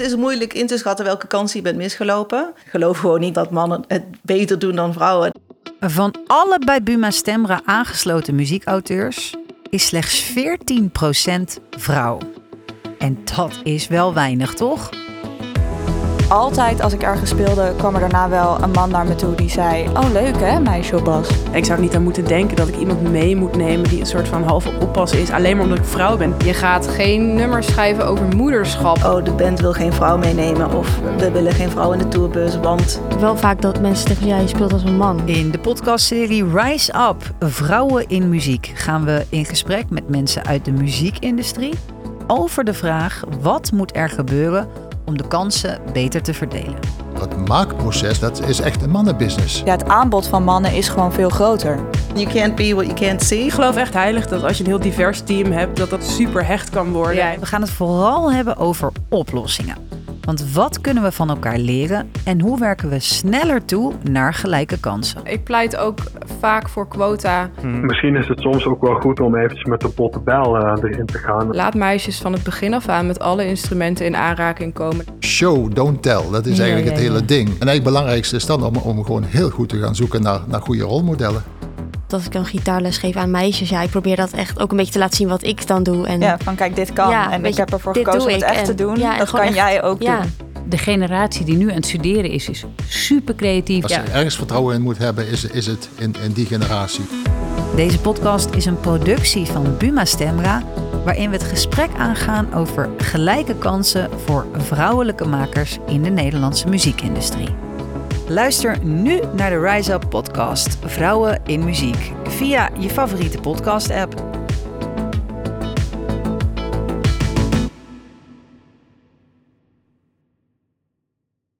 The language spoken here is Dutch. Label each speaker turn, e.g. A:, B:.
A: Het is moeilijk in te schatten welke kans je bent misgelopen. Ik geloof gewoon niet dat mannen het beter doen dan vrouwen.
B: Van alle bij Buma Stemra aangesloten muziekauteurs is slechts 14% vrouw. En dat is wel weinig, toch?
C: Altijd als ik ergens speelde, kwam er daarna wel een man naar me toe die zei: Oh, leuk hè, meisje op bas.
D: Ik zou er niet aan moeten denken dat ik iemand mee moet nemen die een soort van halve oppassen is, alleen maar omdat ik vrouw ben.
E: Je gaat geen nummers schrijven over moederschap.
A: Oh, de band wil geen vrouw meenemen of we willen geen vrouw in de tourbus, want...
F: Wel vaak dat mensen tegen jij speelt als een man.
B: In de podcastserie Rise Up, Vrouwen in Muziek, gaan we in gesprek met mensen uit de muziekindustrie over de vraag wat moet er gebeuren om de kansen beter te verdelen.
G: Dat maakproces, dat is echt een mannenbusiness.
C: Ja, het aanbod van mannen is gewoon veel groter.
A: You can't be what you can't see.
D: Ik geloof echt heilig dat als je een heel divers team hebt, dat dat super hecht kan worden.
B: Ja, we gaan het vooral hebben over oplossingen. Want wat kunnen we van elkaar leren en hoe werken we sneller toe naar gelijke kansen?
E: Ik pleit ook vaak voor quota.
H: Misschien is het soms ook wel goed om eventjes met de botte bel eh, erin te gaan.
E: Laat meisjes van het begin af aan met alle instrumenten in aanraking komen.
G: Show, don't tell. Dat is
B: Ja,
G: eigenlijk
B: ja,
G: het hele
B: ja.
G: ding. En eigenlijk het belangrijkste is dan om, om gewoon heel goed te gaan zoeken naar, naar goede rolmodellen.
F: Dat ik dan gitaarles geef aan meisjes. Ja, ik probeer dat echt ook een beetje te laten zien wat ik dan doe. En
C: Ja, van kijk, dit kan.
F: Ja,
C: en ik
F: weet je,
C: heb ervoor
F: dit
C: gekozen om
F: doe
C: het
F: ik
C: echt
F: en-
C: te doen.
F: ja,
C: dat
F: en
C: kan
F: gewoon echt-
C: jij ook
F: ja.
C: doen.
I: De generatie die nu aan het studeren is, is super creatief.
G: Als je ergens vertrouwen in moet hebben, is, is het in, in die generatie.
B: Deze podcast is een productie van Buma Stemra, waarin we het gesprek aangaan over gelijke kansen voor vrouwelijke makers in de Nederlandse muziekindustrie. Luister nu naar de Rise Up podcast Vrouwen in Muziek via je favoriete podcast app.